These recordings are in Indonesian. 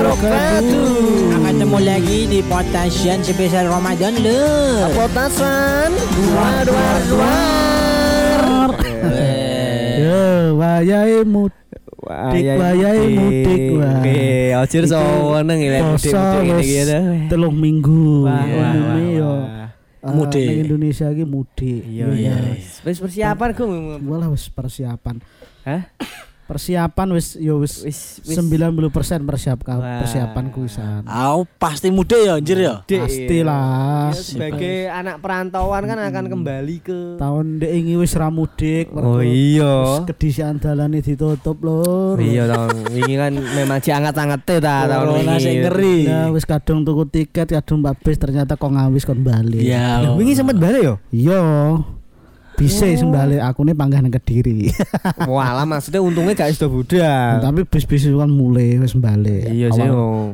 wabarakatuh. Akan ketemu lagi di Potassian spesial Ramadan lu. Potasan dua dua dua. Yo, wayahe mudik wayahe mudik wae. Oke, ojir saweneng ya mudik Poso ngene wis iki ya. telung minggu. Wah, wah, wah, Umume yo wah. eh, Mudik. ning Indonesia iki mudik. Iya iya. Wis persiapan Gung. Walah wis persiapan. Hah? Persiapan wis yo wis Wis wis 90% persiap Wah. persiapan kuisan. Au pasti muda ya anjir ya. Dek, Pastilah. ya, Sebagai anak perantauan kan akan kembali ke Tahun dek ini wis ra mudik. Oh mergo iya. wis Kedisian dalane ditutup lur. Iya tahun wingi kan memang diangkat-angkat ta tahun Iya. Corona wingi. sing ngeri. Ya wis kadung tuku tiket, kadung Mbak Bis ternyata kok ngawis kon bali. Iya. Ya. Lah, Wingi sempat balik yo. Iya. Bisa Oh. sembali aku nih panggah nang Kediri. Walah maksudnya untungnya gak sudah budal. Nah, Tapi bis-bis itu kan mulai wis bali. Iya sih. oh. iya. Awal- Ung.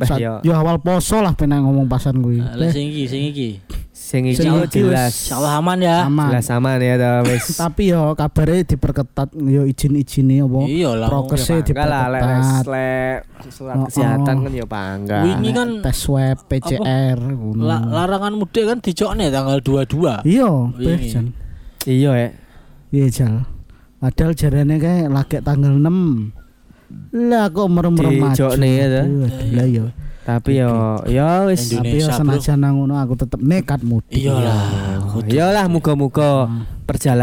Bah saat- yo. yo awal poso lah penang ngomong pasan kuwi. Eh, Lah sing iki sing iki. Sing iki Sing iki jelas. Insyaallah aman ya. Aman. Jelas aman ya ta wis. Tapi yo kabarnya diperketat yo izin-izine apa Iya lah. prokesnya Enggak lah lek diperketat. lek surat Oh, oh. kesehatan kan ya pangga. Wingi kan tes swab PCR ngono. la- larangan mudik kan dijokne tanggal 22. Iya, Wingi. beh, Jan. Iya eh. ya. Iya, Jal. Padahal jarane kae lagek tanggal 6. Lah kok merem-merem maju. Dijokne ya, ta? Aduh, aduh, Lah yo. Tapi yo yo wis. Lanjut. Tapi yo Iya. Indonesia, bro. Iya senajan nang ngono aku tetep nekat mudik. Iyalah. kudu. Hmm. Ya lah muga-muga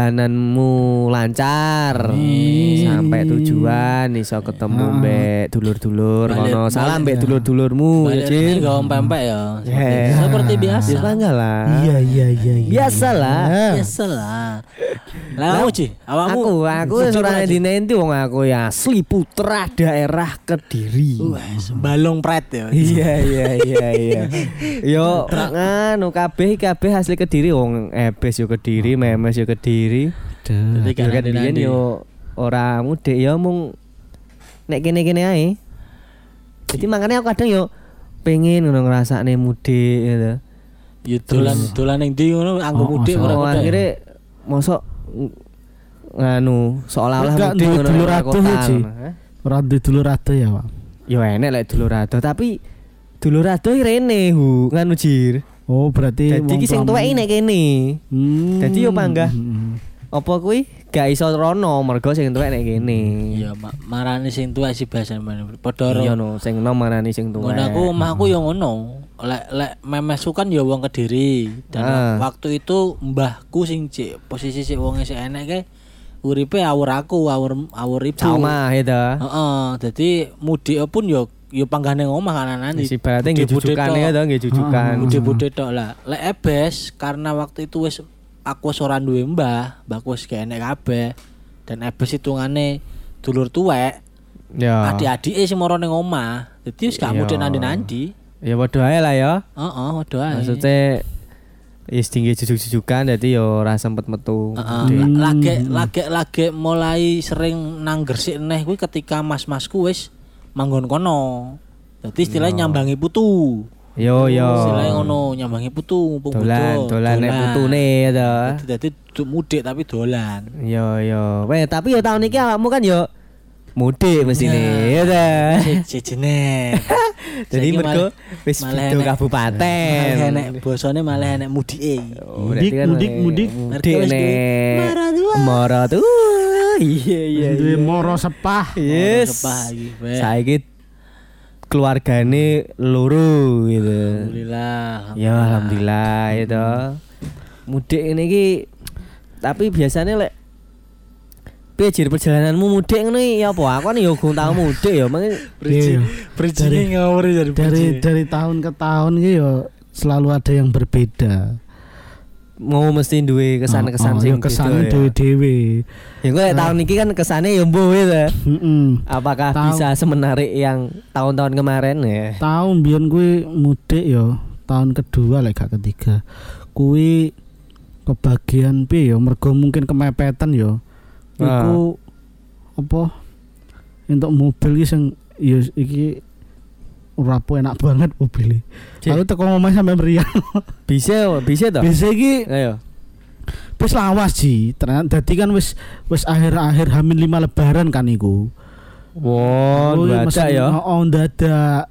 perjalananmu lancar Amin. sampai tujuan iso ketemu Ah. mbek dulur-dulur Balik- kono salam mbek ya. dulur-dulurmu ya Balik Cil. sini gak ompempek ya. Eh. Seperti- Seperti biasa. Ya bangga lah. Iya, iya, iya, iya. Biasalah. Iya. Biasa lah. Lah kamu Ci, awakmu. Aku aku Jujur surane aja. dine enti wong aku ya asli putra daerah Kediri. Wes, balong pret ya. Iya iya iya iya. Yo nganu kabeh kabeh asli Kediri wong Ebes yo Kediri, Memes yo Kediri. Duh. Jadi Yo kan biyen yo ora mudik yo mung nek kene-kene ae. Jadi makanya aku kadang yo pengen ngono ngrasakne mudik gitu. Ya dolan dolan ning ndi ngono Oh, anggo mudik oh, ora Oh, mudik. akhirnya mosok ng- nganu seolah-olah Enggak, mudik duwe ngono dulur ora atuh kota, ya, Ji. ngono. Hah? Ora duwe dulur ade ya, Pak. Yo enek lek dulur ado tapi dulur ado rene hu nganu jir. Oh, berarti Dadi wong iki sing tuamu- tuwek nek kene. Hmm. Dadi yo panggah. Hmm. Apa kuwi gak iso rono mergo sing tuwek nek kene. Iya, ma- marane sing tua sih bahasa mana. Padha Iya ro- no sing nom marani sing tuwek. ngono aku omahku ya ngono. Lek lek memesu kan ya wong Kediri. Dan Ah. waktu itu mbahku sing cek posisi sik wong sik enek ke uripe awur aku, awur awur ibu. Sama ya ta. Heeh, dadi mudik pun yo yo panggane omah kanan-kanan. Si berarti nggih Budhe-budhe jujukan tok. ya ta nggih jujukan. Bude-bude tok lah. Lek ebes karena waktu itu wis aku wis ora duwe mbah, mbahku wis gak enek kabeh. Dan ebes hitungane dulur tuwek, Hmm. Ya. adik-adike sing moro ning omah. Dadi wis Iya. gak mudhe nandi-nandi. Ya padha ae lah ya. Heeh, padha ae. Maksudnya Is tinggi jujuk-jujukan jadi yo ora sempet metu. Heeh, la- lage lage lage mulai sering nang Gresik neh kuwi ketika mas-masku wis manggon kono. Iya. Dadi istilahnya nyambangi putu. Yo yo. Istilahnya ngono, nyambangi putu, mumpung Iya. Dolan, putu, dolan nek putune ya ta. Dadi dadi mudik tapi dolan. Yo yo. Weh, tapi yo tahun iki awakmu kan yo mudik Nah, mesine ya ta. Jejene. Jadi mergo wis malah pitu enek- kabupaten. Malah enek basane malah enek mudike. Oh, berarti Mudik, kan mudik, nek- Mudik mudik. Mergo wis kuwi nek Maratua. Maratua. kan? Iya iya. Duwe moro sepah. Yes. Kepah iki, weh. Saiki keluargane loro gitu. Alhamdulillah. Ya alhamdulillah itu. Mudik ini ki tapi biasanya lek piye jir perjalananmu mudik ngono iki ya apa? Aku kan ya gurung tau mudik ya. Mangke Iya. Berjine ngawur dari Dari dari tahun ke tahun iki yo selalu ada yang berbeda. Ah, mau mesti duwe kesan-kesan sing sing kesane dhewe-dhewe. Ya gue tahun ini kan kesannya ya mbuh gitu. Heeh. Apakah Tahu. bisa semenarik yang tahun-tahun kemarin ya? Tahun biyen kuwi mudik yo, tahun kedua lek gak ketiga. Kuwi kebagian piye yo mergo mungkin kemepetan yo. Ah. Iku apa untuk mobil iki sing yo iki ora po enak banget mobilnya Cik. Aku teko omah sampe meriang. Bisa, bisa toh. Bisa iki Ayo. wis lawas ji. Ternyata dadi kan wis wis akhir-akhir hamin lima lebaran kan iku. Won, Kuwi baca mesen- ya. Oh, oh, dadak.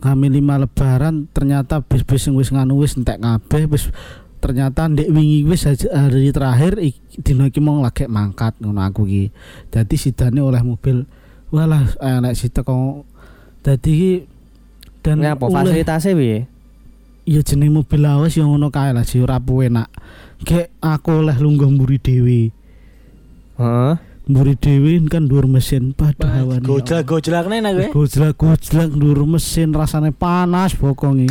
Kami lima lebaran ternyata bis-bis yang wis nganu wis entek kabeh wis ternyata ndek wingi wis aja- hari terakhir ik- dina iki mong lagi mangkat ngono aku iki. Dadi sidane oleh mobil. Walah elek sitek kok. Dadi iki dan Ngapa oleh- fasilitasnya piye? ya jeneng mobil lawas yang ngono kae lah sih ora puwe nak Kek aku oleh lunggah mburi dhewe Heeh. mburi dhewe kan dhuwur mesin padha hawane Gojlak gojlak nih nak gue. gojlak gojlak dhuwur mesin rasane panas bokongi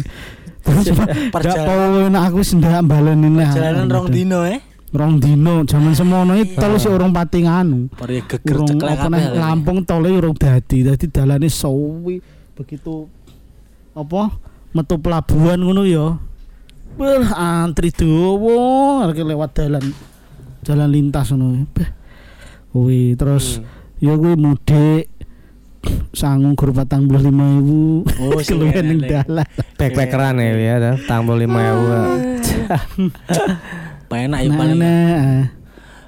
terus gak Perjalanan tau enak aku sendak baleni lah perjalanan rong dino eh. rong dino jaman semono iki tol sih urung pati nganu Mari geger urung ceklek apa kabeh. neh Lampung tole urung dadi dadi dalane sowi begitu apa metu pelabuhan ngono ya Wah, antri dowo arek lewat dalan jalan lintas ngono. Beh. Kuwi terus Hmm. ya kuwi mudik sangung guru patang puluh lima ribu Oh, sing keluar enak, ning Lek. dalan Backpackeran ya ya, tambah lima Ah. ewu. Penak yo nah, paling. nah, eh.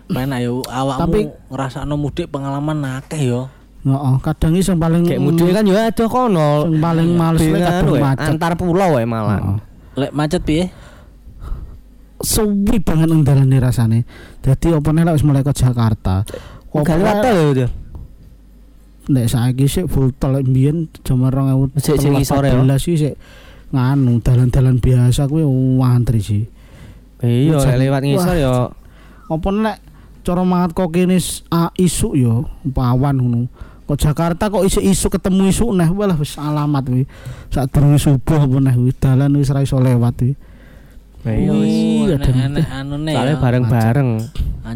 Penak yo awakmu Tapi- ngrasakno mudik pengalaman akeh yo. Heeh, kadang iso paling Kayak mudik kan yo ada kono. sing paling males lek Dengan kadang we, macet kan, Ah. antar pulau ya malah. Heeh. Lek macet piye? suwi banget nang dalane rasane. Dadi opone lek wis mulai ke Jakarta. Gak lewat Opone tol ya udah. nek saiki sik full tol lek mbiyen jaman 2014 Sik, sik ngisore ya. sih sik nganu dalan-dalan biasa kuwi antri sih. Iya, Hujan. lek lewat ngisor yo. Opone lek cara mangat kok kene s- a- isuk yo pawan ngono. Kok Jakarta kok isuk isuk ketemu isuk neh walah wis alamat kuwi. Sak durunge subuh apa neh kuwi dalan wis ra iso lewat kuwi. Iya, wis. Wih, ada enek-enek anune soalnya ya. bareng-bareng.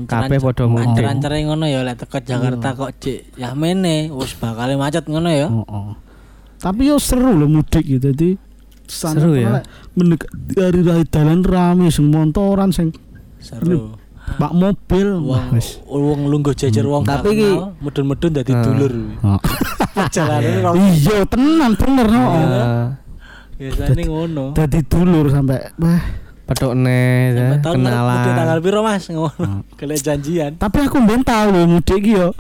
kabeh padha mudik. Ancer-ancere ngono ya lek teko Jakarta kok cek ya mene wis bakal macet ngono ya. Heeh. Oh, Tapi yo seru loh mudik gitu. Jadi sana Seru kan ya? lek mendekat dari raya dalan rame sing montoran sing Seru. pak mobil wah Wong wis. wong lungguh jejer wong Tapi gak ki- kenal, mudun-mudun dadi Ah. dulur. Perjalanan rong Iya tenan bener no. Iya. Heeh. biasane ngono. Dadi dulur sampai wah. Petuk neh, ya, Sampai tahun kenalan. udah tanggal piro Mas ngono. Ah. Kalian janjian. Tapi aku mben tau loh mudik iki yo.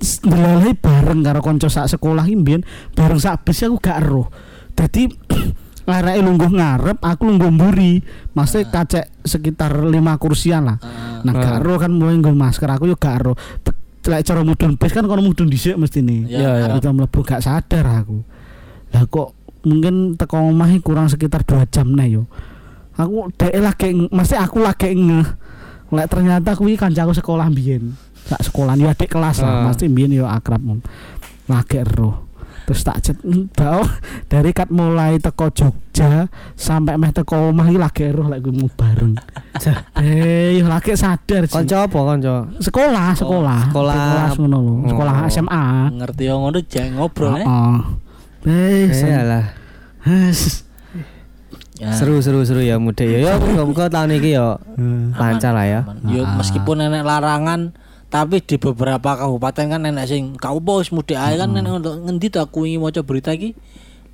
S- Ndelalahi bareng karo kanca sak sekolah iki mbiyen bareng sak bis aku gak eruh. Dadi larake lungguh ngarep, aku lungguh mburi. Maksudnya kacek sekitar lima kursian lah. Nah, Ah. gak ero kan mulai nggo masker aku yo gak ero. Be- Lek cara mudun bis kan kono mudun dhisik mestine. Ya, ya. Kita mlebu gak sadar aku. Lah kok mungkin teko omahe kurang sekitar 2 jam nih yo. Aku dhek lagi ng- mesti aku lagi ngeh. Lek ternyata kuwi kancaku sekolah mbiyen. Sak sekolah yo adik kelas Ah. lah, mesti mbiyen yo akrab. Mom. Lagi ero. Terus tak cet "Hmm, bau dari kat mulai teko Jogja sampai meh teko omah iki lagi ero lek kuwi mau bareng. Eh, yo lagi sadar sih. Kanca apa kanca? sekolah sekolah sekolah. sekolah ngono lho. Oh. eh? sekolah SMA Ngerti yo ngono jangan ngobrol ya. heeh eh sen- Iyalah. Hes. Ya. Seru seru seru ya mudik ya. Ya muga-muga tahun iki ya lancar lah ya. Aman. Yo meskipun enek larangan tapi di beberapa kabupaten kan enek sing kaupo wis mudik ae kan enek untuk ngendi to aku wingi maca berita iki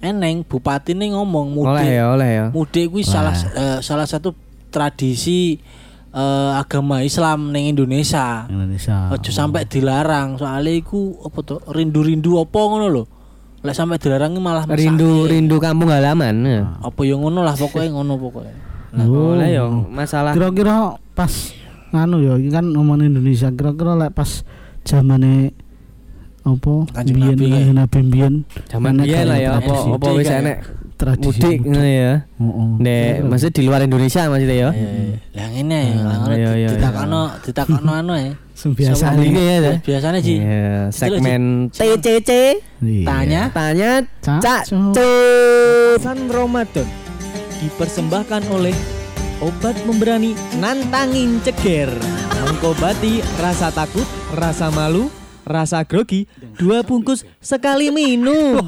eneng bupati ini ngomong Oleh mudik ya, oleh ya. mudik kuwi salah eh, salah satu tradisi eh, agama Islam ning Indonesia. Indonesia Ojo sampai dilarang soalnya iku apa to rindu-rindu apa ngono lho. Lek sampai dilarang ini malah mesak. Iya. Rindu rindu kampung halaman. ya. apa yang ngono lah pokoknya ngono pokoknya. Ah. Oh. Oleh ya, masalah kira-kira pas nganu ya iki kan ngomong Indonesia kira-kira lek pas zamane apa Kanjeng mbiyen Nabi, kanjeng Nabi mbiyen zaman enek biyen lah kayak ya, ya apa tradisi- apa wis enek tradisi mudik ngono ya. Heeh. Nek maksud di luar Indonesia maksudnya ya. Iya, Lah ngene lah ngono iya, iya, ditakakno ditakakno anu ya. Sing Sama biasane. ini ya. ya. Biasanya sih Iya, segmen TCC Iya. tanya tanya Cak, Cak Cuk. Cuk. Pesan Ramadan dipersembahkan oleh Obat Memberani Nantangin Ceger. Mengobati rasa takut, rasa malu, rasa grogi, dua bungkus sekali minum.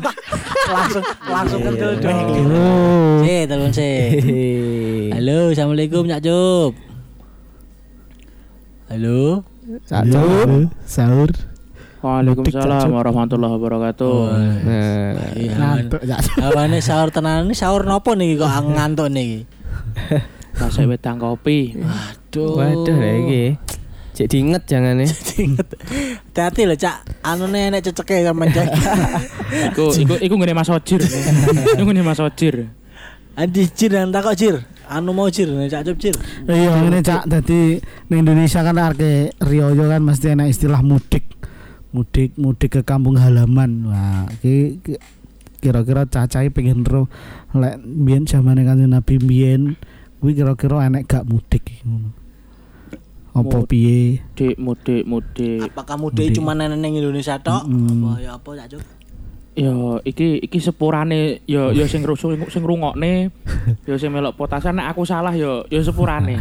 langsung langsung kendel dong. Oh. Si, Eh, telepon si. Halo, Assalamualaikum Cak Cup. Halo. Sahur. Sahur. Waalaikumsalam warahmatullahi wabarakatuh. Nah, Ngantuk ya. Awane sahur tenan ini sahur nopo nih kok ngantuk nih. Tasik wedang kopi. Aduh. waduh lah iki. Cek diinget jangan ya. Ingat. Hati-hati lho, Cak. Anune enek ceceke sampean, Cak. Iku iku iku ngene Mas Ojir. Iku ngene Mas Ojir. Andi jir nang takok jir. Anu mau jir, nek Cak Cup jir. Iya, ini cak tadi di Indonesia kan arke Rioyo kan mesti enak istilah mudik, mudik, mudik ke kampung halaman. Wah, ki- ki- kira-kira cacai pengen ro lek biyen zamane kanjeng Nabi biyen kuwi kira-kira enek gak mudik iki ngono. Apa Mud- piye? Dik mudik mudik. Apakah mudik cuma nenek nang Indonesia tok? Mm-mm. Apa ya apa Cak Cup? Yo iki iki sepurane yo yo sing rusuh sing rungokne yo sing melok potasan nek aku salah yo yo sepurane.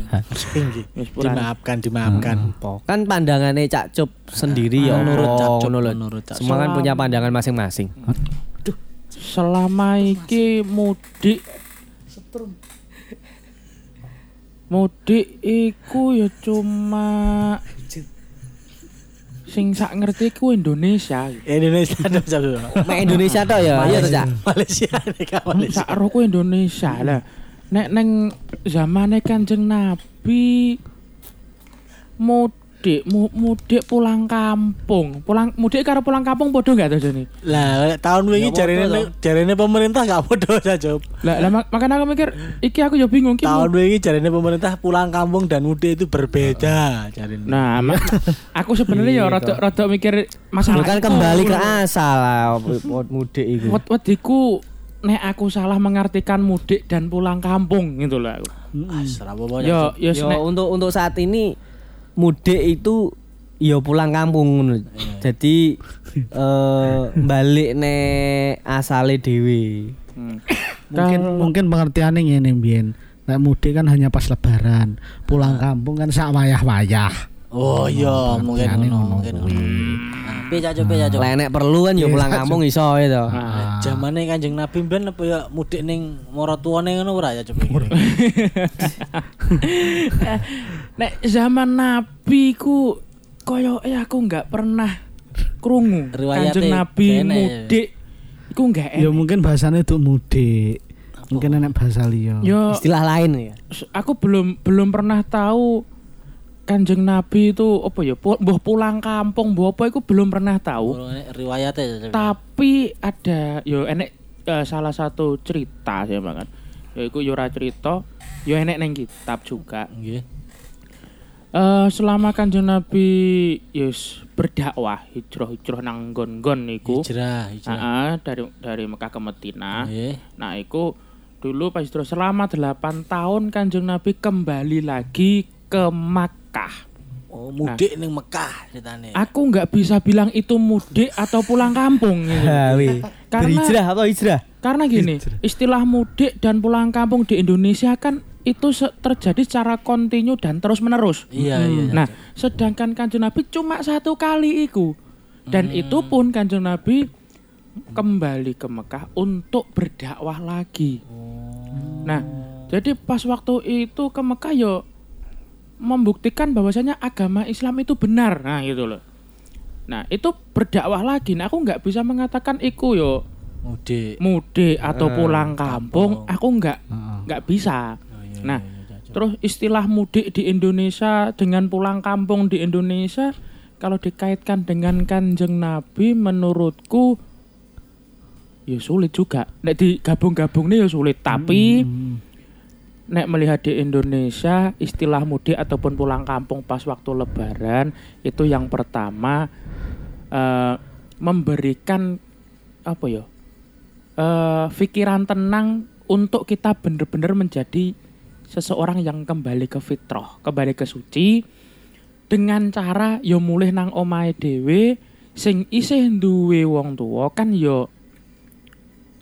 Inggih. Yo sepurane. Dimaafkan, dimaafkan. Kan pandangannya Cak Cup sendiri ya Menurut Allah, Cak Cup, ngono lho. menurut Cak Cup. Semua kan punya pandangan masing-masing. Selama iki mudik Mudik iku ya cuma sing sak ngerti ku Indonesia. Indonesia tok, Cak Cup. Mek Indonesia tok ya, iya toh Cak. Malaysia nek gak Malaysia. Sak roku Indonesia Hmm. lah. Nek neng zamane Kanjeng Nabi mudik mu, mudik pulang kampung. Pulang mudik karo pulang kampung padha enggak to jane? Lah, tahun wingi Ya, padha jarene lho. jarene pemerintah gak podo Cak Cup. Lah lah mak- makanya aku mikir iki aku ya bingung ki. Tahun mu- wingi jarene pemerintah pulang kampung dan mudik itu berbeda jarene. Nah, ma- aku sebenarnya ya rada rada mikir masalah Bukan Iya, itu. kan kembali ke asal lah, mudik itu. Wet wetiku nek aku salah mengartikan mudik dan pulang kampung gitu lah. aku. Ah, serah apa-apa, Cak Yo Cup. yo Yo, ya nek untuk untuk saat ini mudik itu yo pulang kampung ngono. Jadi eh balik ne asale dhewe. Mungkin mungkin pengertiane ngene biyen. Nek mudik kan hanya pas lebaran, pulang Ah. kampung kan sak wayah-wayah. Oh iya, Nah, mungkin Pengertiane ngono, ngono mungkin gitu. ngono. Nah, piye Cak Cup, Ya, piye Cak Cup? Lah nek perlu kan yo Iya, pulang kampung iso ya to. Nah. Ah. Ah. Jamane Kanjeng Nabi mben apa ya mudik ning maratuwane ngono ora ya coba. Eh, nek zaman Nabi ku koyo eh aku nggak pernah krungu Riwayate kanjeng Nabi kene. mudik iku nggak Ya enak. mungkin bahasane itu mudik. Mungkin enak bahasa liya. Yo Istilah lain ya. s- aku belum belum pernah tahu Kanjeng Nabi itu apa ya pu- mbuh pulang kampung mbuh apa iku belum pernah Oh, tahu. Riwayate ya coba. Tapi ada yo enek eh, salah satu cerita sih banget. Ya iku yo ora cerita, yo enek neng kitab juga. Nggih. Eh, selama kanjeng Nabi yes, berdakwah hijrah-hijrah nang gon-gon niku. Hijrah, Iya. hijrah. Heeh, dari dari Mekah ke Madinah. Nggih. Nah, iku dulu pas terus selama 8 tahun kanjeng Nabi kembali lagi ke Makkah. Oh, mudik ning Mekah ceritane. Aku nggak bisa bilang itu mudik atau pulang kampung gitu. Ha wi. Karena- Berhijrah apa hijrah? Karena gini, istilah mudik dan pulang kampung di Indonesia kan itu se- terjadi secara kontinu dan terus-menerus. Iya, iya. Nah, sedangkan Kanjeng Nabi cuma satu kali iku. Dan Hmm. itu pun Kanjeng Nabi kembali ke Mekah untuk berdakwah lagi. Oh. Nah, jadi pas waktu itu ke Mekah yo membuktikan bahwasanya agama Islam itu benar. Nah, gitu loh. Nah, itu berdakwah lagi. Nah, aku nggak bisa mengatakan iku yo Mudik. Hmm. mudik atau pulang kampung, aku nggak nggak bisa. Oh, iya, Nah, terus istilah mudik di Indonesia dengan pulang kampung di Indonesia kalau dikaitkan dengan Kanjeng Nabi menurutku ya sulit juga. Nek digabung-gabung nih ya sulit, tapi Hmm. nek melihat di Indonesia istilah mudik ataupun pulang kampung pas waktu lebaran itu yang pertama eh, memberikan apa ya? eh pikiran tenang untuk kita benar-benar menjadi seseorang yang kembali ke fitrah, kembali ke suci dengan cara yo mulih nang omahe dhewe sing isih duwe wong tua kan yo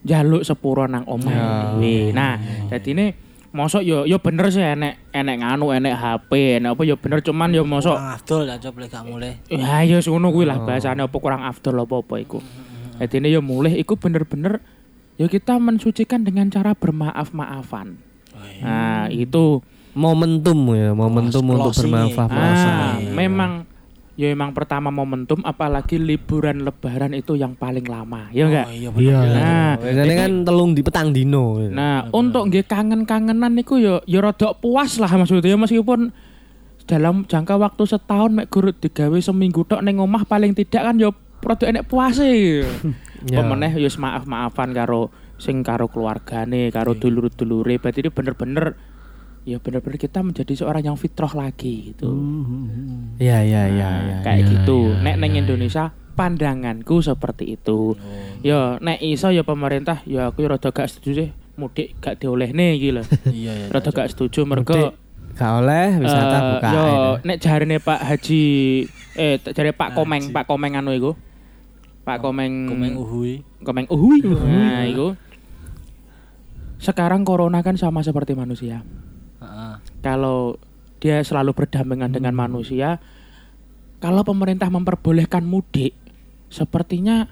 jaluk sepuro nang omahe dhewe. Nah, Hmm. jadi ini mosok yo yo bener sih enek enek nganu enek HP enek apa yo bener cuman yo mosok Bang Abdul ya coba gak mulai. Ya ya ngono kuwi lah Oh. bahasane apa kurang afdol apa apa iku. Jadi ini ya mulih iku bener-bener ya kita mensucikan dengan cara bermaaf-maafan. Oh, Nah, itu Momentum ya, momentum Close- untuk closing-nya. bermanfaat. ah, iya. memang ya memang pertama momentum apalagi liburan lebaran itu yang paling lama, Oh ya enggak? iya Iya. bener. Nah, Biasanya jadi- kan telung di petang dino. ya. Nah, untuk nggih kangen-kangenan niku ya ya rada puas lah maksudnya meskipun dalam jangka waktu setahun mek gurut digawe seminggu tok ning omah paling tidak kan yo produk enek puase. Ya. Pemeneh yo maaf-maafan karo sing karo keluargane, karo dulur-dulure. Berarti ini bener-bener ya bener-bener kita menjadi seorang yang fitrah lagi gitu. Hmm. Iya iya iya Nah, iya. kayak iya, gitu. iya, nek neng iya, Oh. Indonesia pandanganku seperti itu. Yo nek iso yo pemerintah yo aku rada gak setuju sih mudik gak diolehne iki lho. Iya iya. Rada gak setuju mergo Mudik gak oleh wisata eh, buka. Yo air. ya. nek jarene Pak Haji eh t- jarene Pak Komeng, Pak Komeng anu iku. Pak Komeng Komeng Uhuh. uhui. Komeng Uhui. Nah, iku. Sekarang corona kan sama seperti manusia. Hmm. Heeh. kalau dia selalu berdampingan dengan Hmm. manusia kalau pemerintah memperbolehkan mudik sepertinya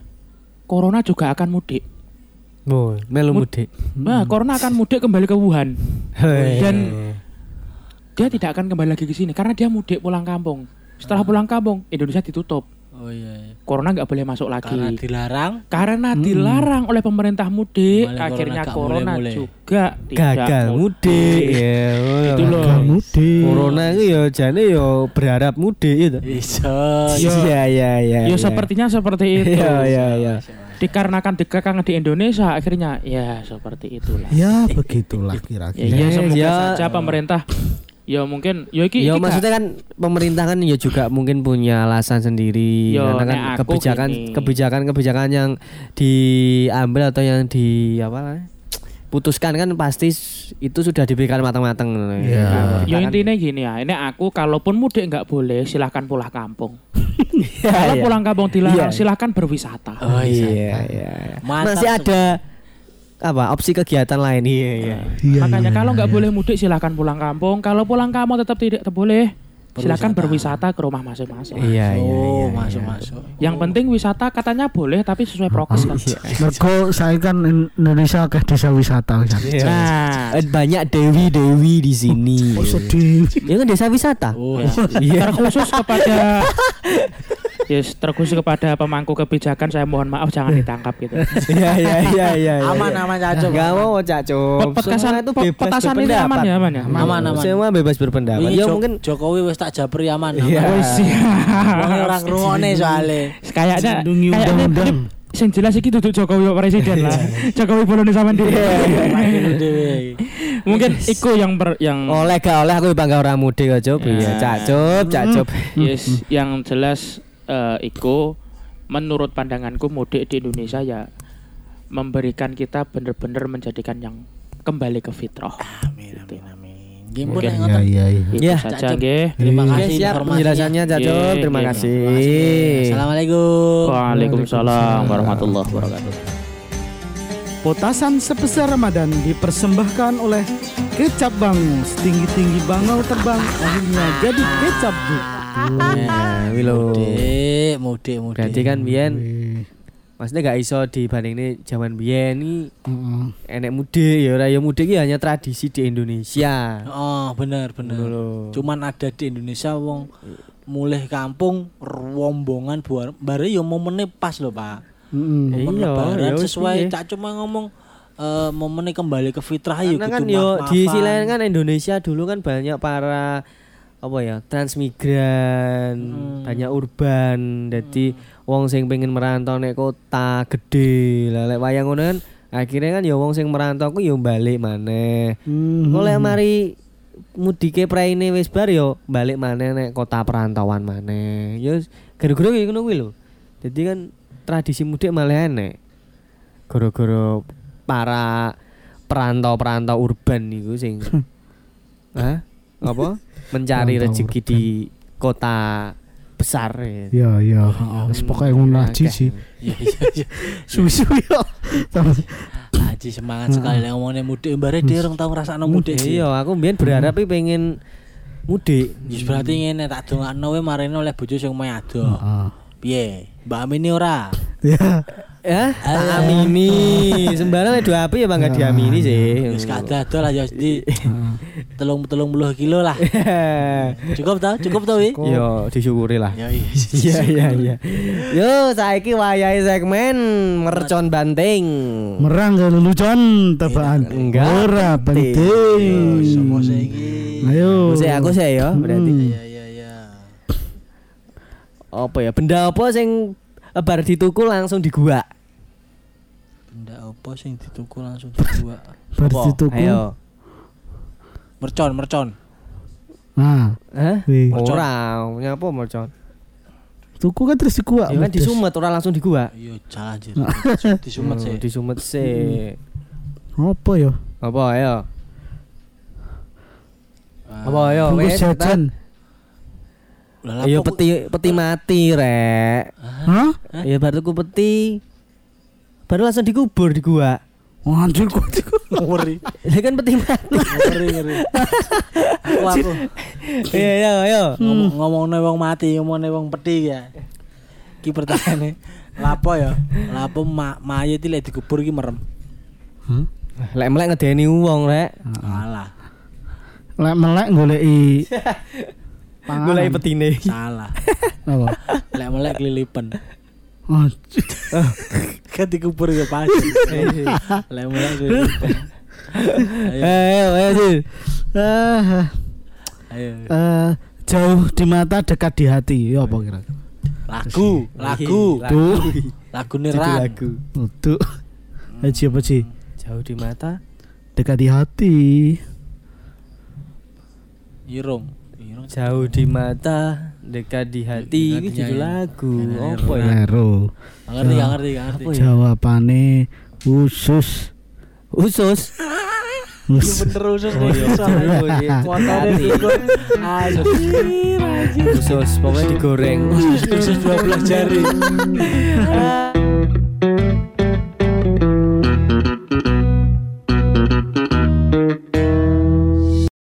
corona juga akan mudik Boy, melu Mud- mudik. nah corona akan mudik kembali ke Wuhan Hei. Dan- dia tidak akan kembali lagi ke sini karena dia mudik pulang kampung Ah. setelah pulang kampung Indonesia ditutup Oh iya. iya. corona nggak boleh masuk lagi Karena dilarang. karena Hmm. dilarang oleh pemerintah Mulai mudik corona akhirnya nggak corona mulai-mulai. juga tidak gagal mul- mudik. Ya, Itu wah, loh. gagal. Mude. Corona itu ya jane ya berharap mudik itu. Iso. Iya. Iya iya iya. ya sepertinya seperti itu Iya iya iya. dikarenakan dikekang di Indonesia akhirnya ya seperti itulah Ya begitulah Ya, kira-kira. iya, Yes, semoga ya. saja pemerintah ya mungkin ya iki, Ya iki gak- maksudnya kan pemerintah kan ya juga mungkin punya alasan sendiri Yo, karena kan nek aku kebijakan gini. kebijakan kebijakan yang diambil atau yang di apa lah putuskan kan pasti s- itu sudah diberikan matang-matang. Iya. Nah, kita ya kan- intinya gini ya ini aku kalaupun mudik nggak boleh silahkan pulang kampung Iya, kalau iya. pulang kampung Iya, dilarang iya. silahkan berwisata Oh iya iya. iya. Mantap Masih ada apa opsi kegiatan lain iya iya. Iya, makanya iya, kalau iya. nggak boleh mudik silahkan pulang kampung kalau pulang kampung tetap tidak boleh silahkan berwisata ke rumah masing-masing Iya iya. iya, Oh, masuk iya. masuk. yang penting wisata katanya boleh tapi Oh, sesuai prokes iya. kan Mergo saya kan In- Indonesia akeh desa wisata kan. Iya. nah Eh, banyak dewi-dewi di sini. Oh iya. sedih. Ya kan desa wisata. Iya. Oh. Ya, terkhusus kepada Yes, terkhusus kepada pemangku kebijakan saya mohon maaf jangan ditangkap gitu. Iya iya iya iya. Aman aman cacok. Gak mau Cak Cum. Petasan Semua itu petasan ini aman ya, aman ya. Aman, aman. Semua bebas berpendapat. Wingi Ya Jo- mungkin Jokowi wis tak japri aman. Iya. aman. Oh, siap. Wong orang ngrungokne soalnya. Kayaknya Lindungi kayaknya undang-undang. ini- sing jelas iki duduk Jokowi Pak presiden lah. Jokowi bolone sama iya. dia. Makin dhewe. Mungkin iku yang ber, yang oleh gak oleh aku bangga orang muda ya Cup. Iya Cak Cup, Cak Cup. yes, yang jelas eh, iku menurut pandanganku mudik di Indonesia ya memberikan kita bener-bener menjadikan yang kembali ke fitrah. Amin amin amin. Gimpun Mungkin. yang Iya ngoten. iya iya. Itu Ya. saja nggih. Terima Oke, siap kasih informasinya. penjelasannya Cak Iya, Cup. Terima iya, kasih. Terima kasih. Assalamualaikum. Waalaikumsalam warahmatullahi wabarakatuh. Potasan sebesar Ramadan dipersembahkan oleh Kecap Bangu. Setinggi-tinggi bangau terbang akhirnya jadi kecap Bu. Nah, wilo. Mudik, mudik, mudik. Berarti kan biyen maksudnya gak iso dibandingin zaman biyen ini Heeh. enek mudik ya ora ya mudik iki hanya tradisi di Indonesia. Oh, bener, bener. Ngono lho. Cuman ada di Indonesia wong mulih kampung rombongan buar bare yo momennya pas lho, Pak. Heeh. Iya, Momen lebaran ya wis sesuai piye. tak cuma ngomong eh momennya kembali ke fitrah ya yuk Karena kan yo di sisi lain kan Indonesia dulu kan banyak para apa ya transmigran, banyak urban, jadi wong sing pengen merantau nek kota gede, lah lek wayang ngono kan akhirnya kan ya wong sing merantau ku yo balik maneh. Engko Hmm. lek mari mudike praine wis bar yo balik maneh nek kota perantauan maneh. Yo gara-gara iki ngono kuwi lho. Jadi kan tradisi mudik malah enek. Gara-gara para perantau-perantau urban niku sing Hah? Apa? Mencari Perantau rezeki di kota besar ya. Iya iya. Wis pokoke ngono aja Akeh. sih. Iya, iya, iya. Susu yo. Terus Haji semangat sekali lah ngomongnya mudik bare dia orang tau ngrasakno mudik. Eh, sih. Iya, aku mbiyen berharap Hmm. iki pengen mudik. Yus berarti ngene tak dongakno we marene oleh bojo sing mau ado. Heeh. Piye? Mbak Amini ora? Ya. Ya, Eh? tak amini. Sembarang dua api ya bangga diamini sih. Wis kada ado lah ya wis di telung telung puluh kilo lah. Cukup tau? Cukup tau wi? Yo, disyukuri lah. Ya iya. Iya iya iya. Yo, saiki wayahe segmen mercon banting. Merang gak lelucon tebakan. Enggak. Iya, Ora penting. Sopo saiki? Hmm. Ayo. Sik iya. aku sih yo berarti. Ya ya apa ya benda apa sing eh, bar dituku langsung digua Ndak apa sing dituku langsung dibuat. Bar Apa? dituku. ayo Mercon, mercon. Nah, Hah? wih. Mercon. Ora, nyapa mercon? Tuku kan terus digua. Ya kan pedes. disumet ora langsung digua. Iya, jalan anjir. Disumet sih. Hmm, Disumet sih. Apa ya? Apa ayo? Apa ayo? wes, Bungkus kita- jajan. Lah lah, Iya kok- peti peti mati rek. Hah? Ya baru tuku peti. Baru langsung dikubur di gua. Wah, Anjir Oh, kok diku. ngeri, Lah kan peti mati. ngeri, ngeri. Aku aku Iya iya ayo. ngomong ngomongnya wong mati, ngomongnya wong peti ya. Ki pertanyaane, lapo ya? Lapo ma mayit iki lek dikubur iki merem. Hah? Lek melek ngedeni wong rek. Salah, Lek melek goleki Panganan. Golek petine. salah. apa? Lek melek kelilipan. Anjir. Kan dikubur ya pasti. Iya. Lek melek kelilipan. Ayo ayo sih. Ah, ah. Ayo. Eh, jauh di mata dekat di hati ya apa kira-kira Lagu, lagu, tuh lagu Judul niran. lagu. tuh Haji apa sih Jauh di mata. dekat di hati Irung, irung. Jauh di mata, dekat di hati. Ini Hatinya judul ya. lagu. Hatinya Apa ya? Nero Nggak ngerti, nggak ngerti, nggak ngerti. jawabane usus Usus. Iya usus bener usus nih soalnya. iya. Motornya ikut. Iya, Anjir, anjir. Iya. Usus, pokoknya digoreng. Usus 12 jari.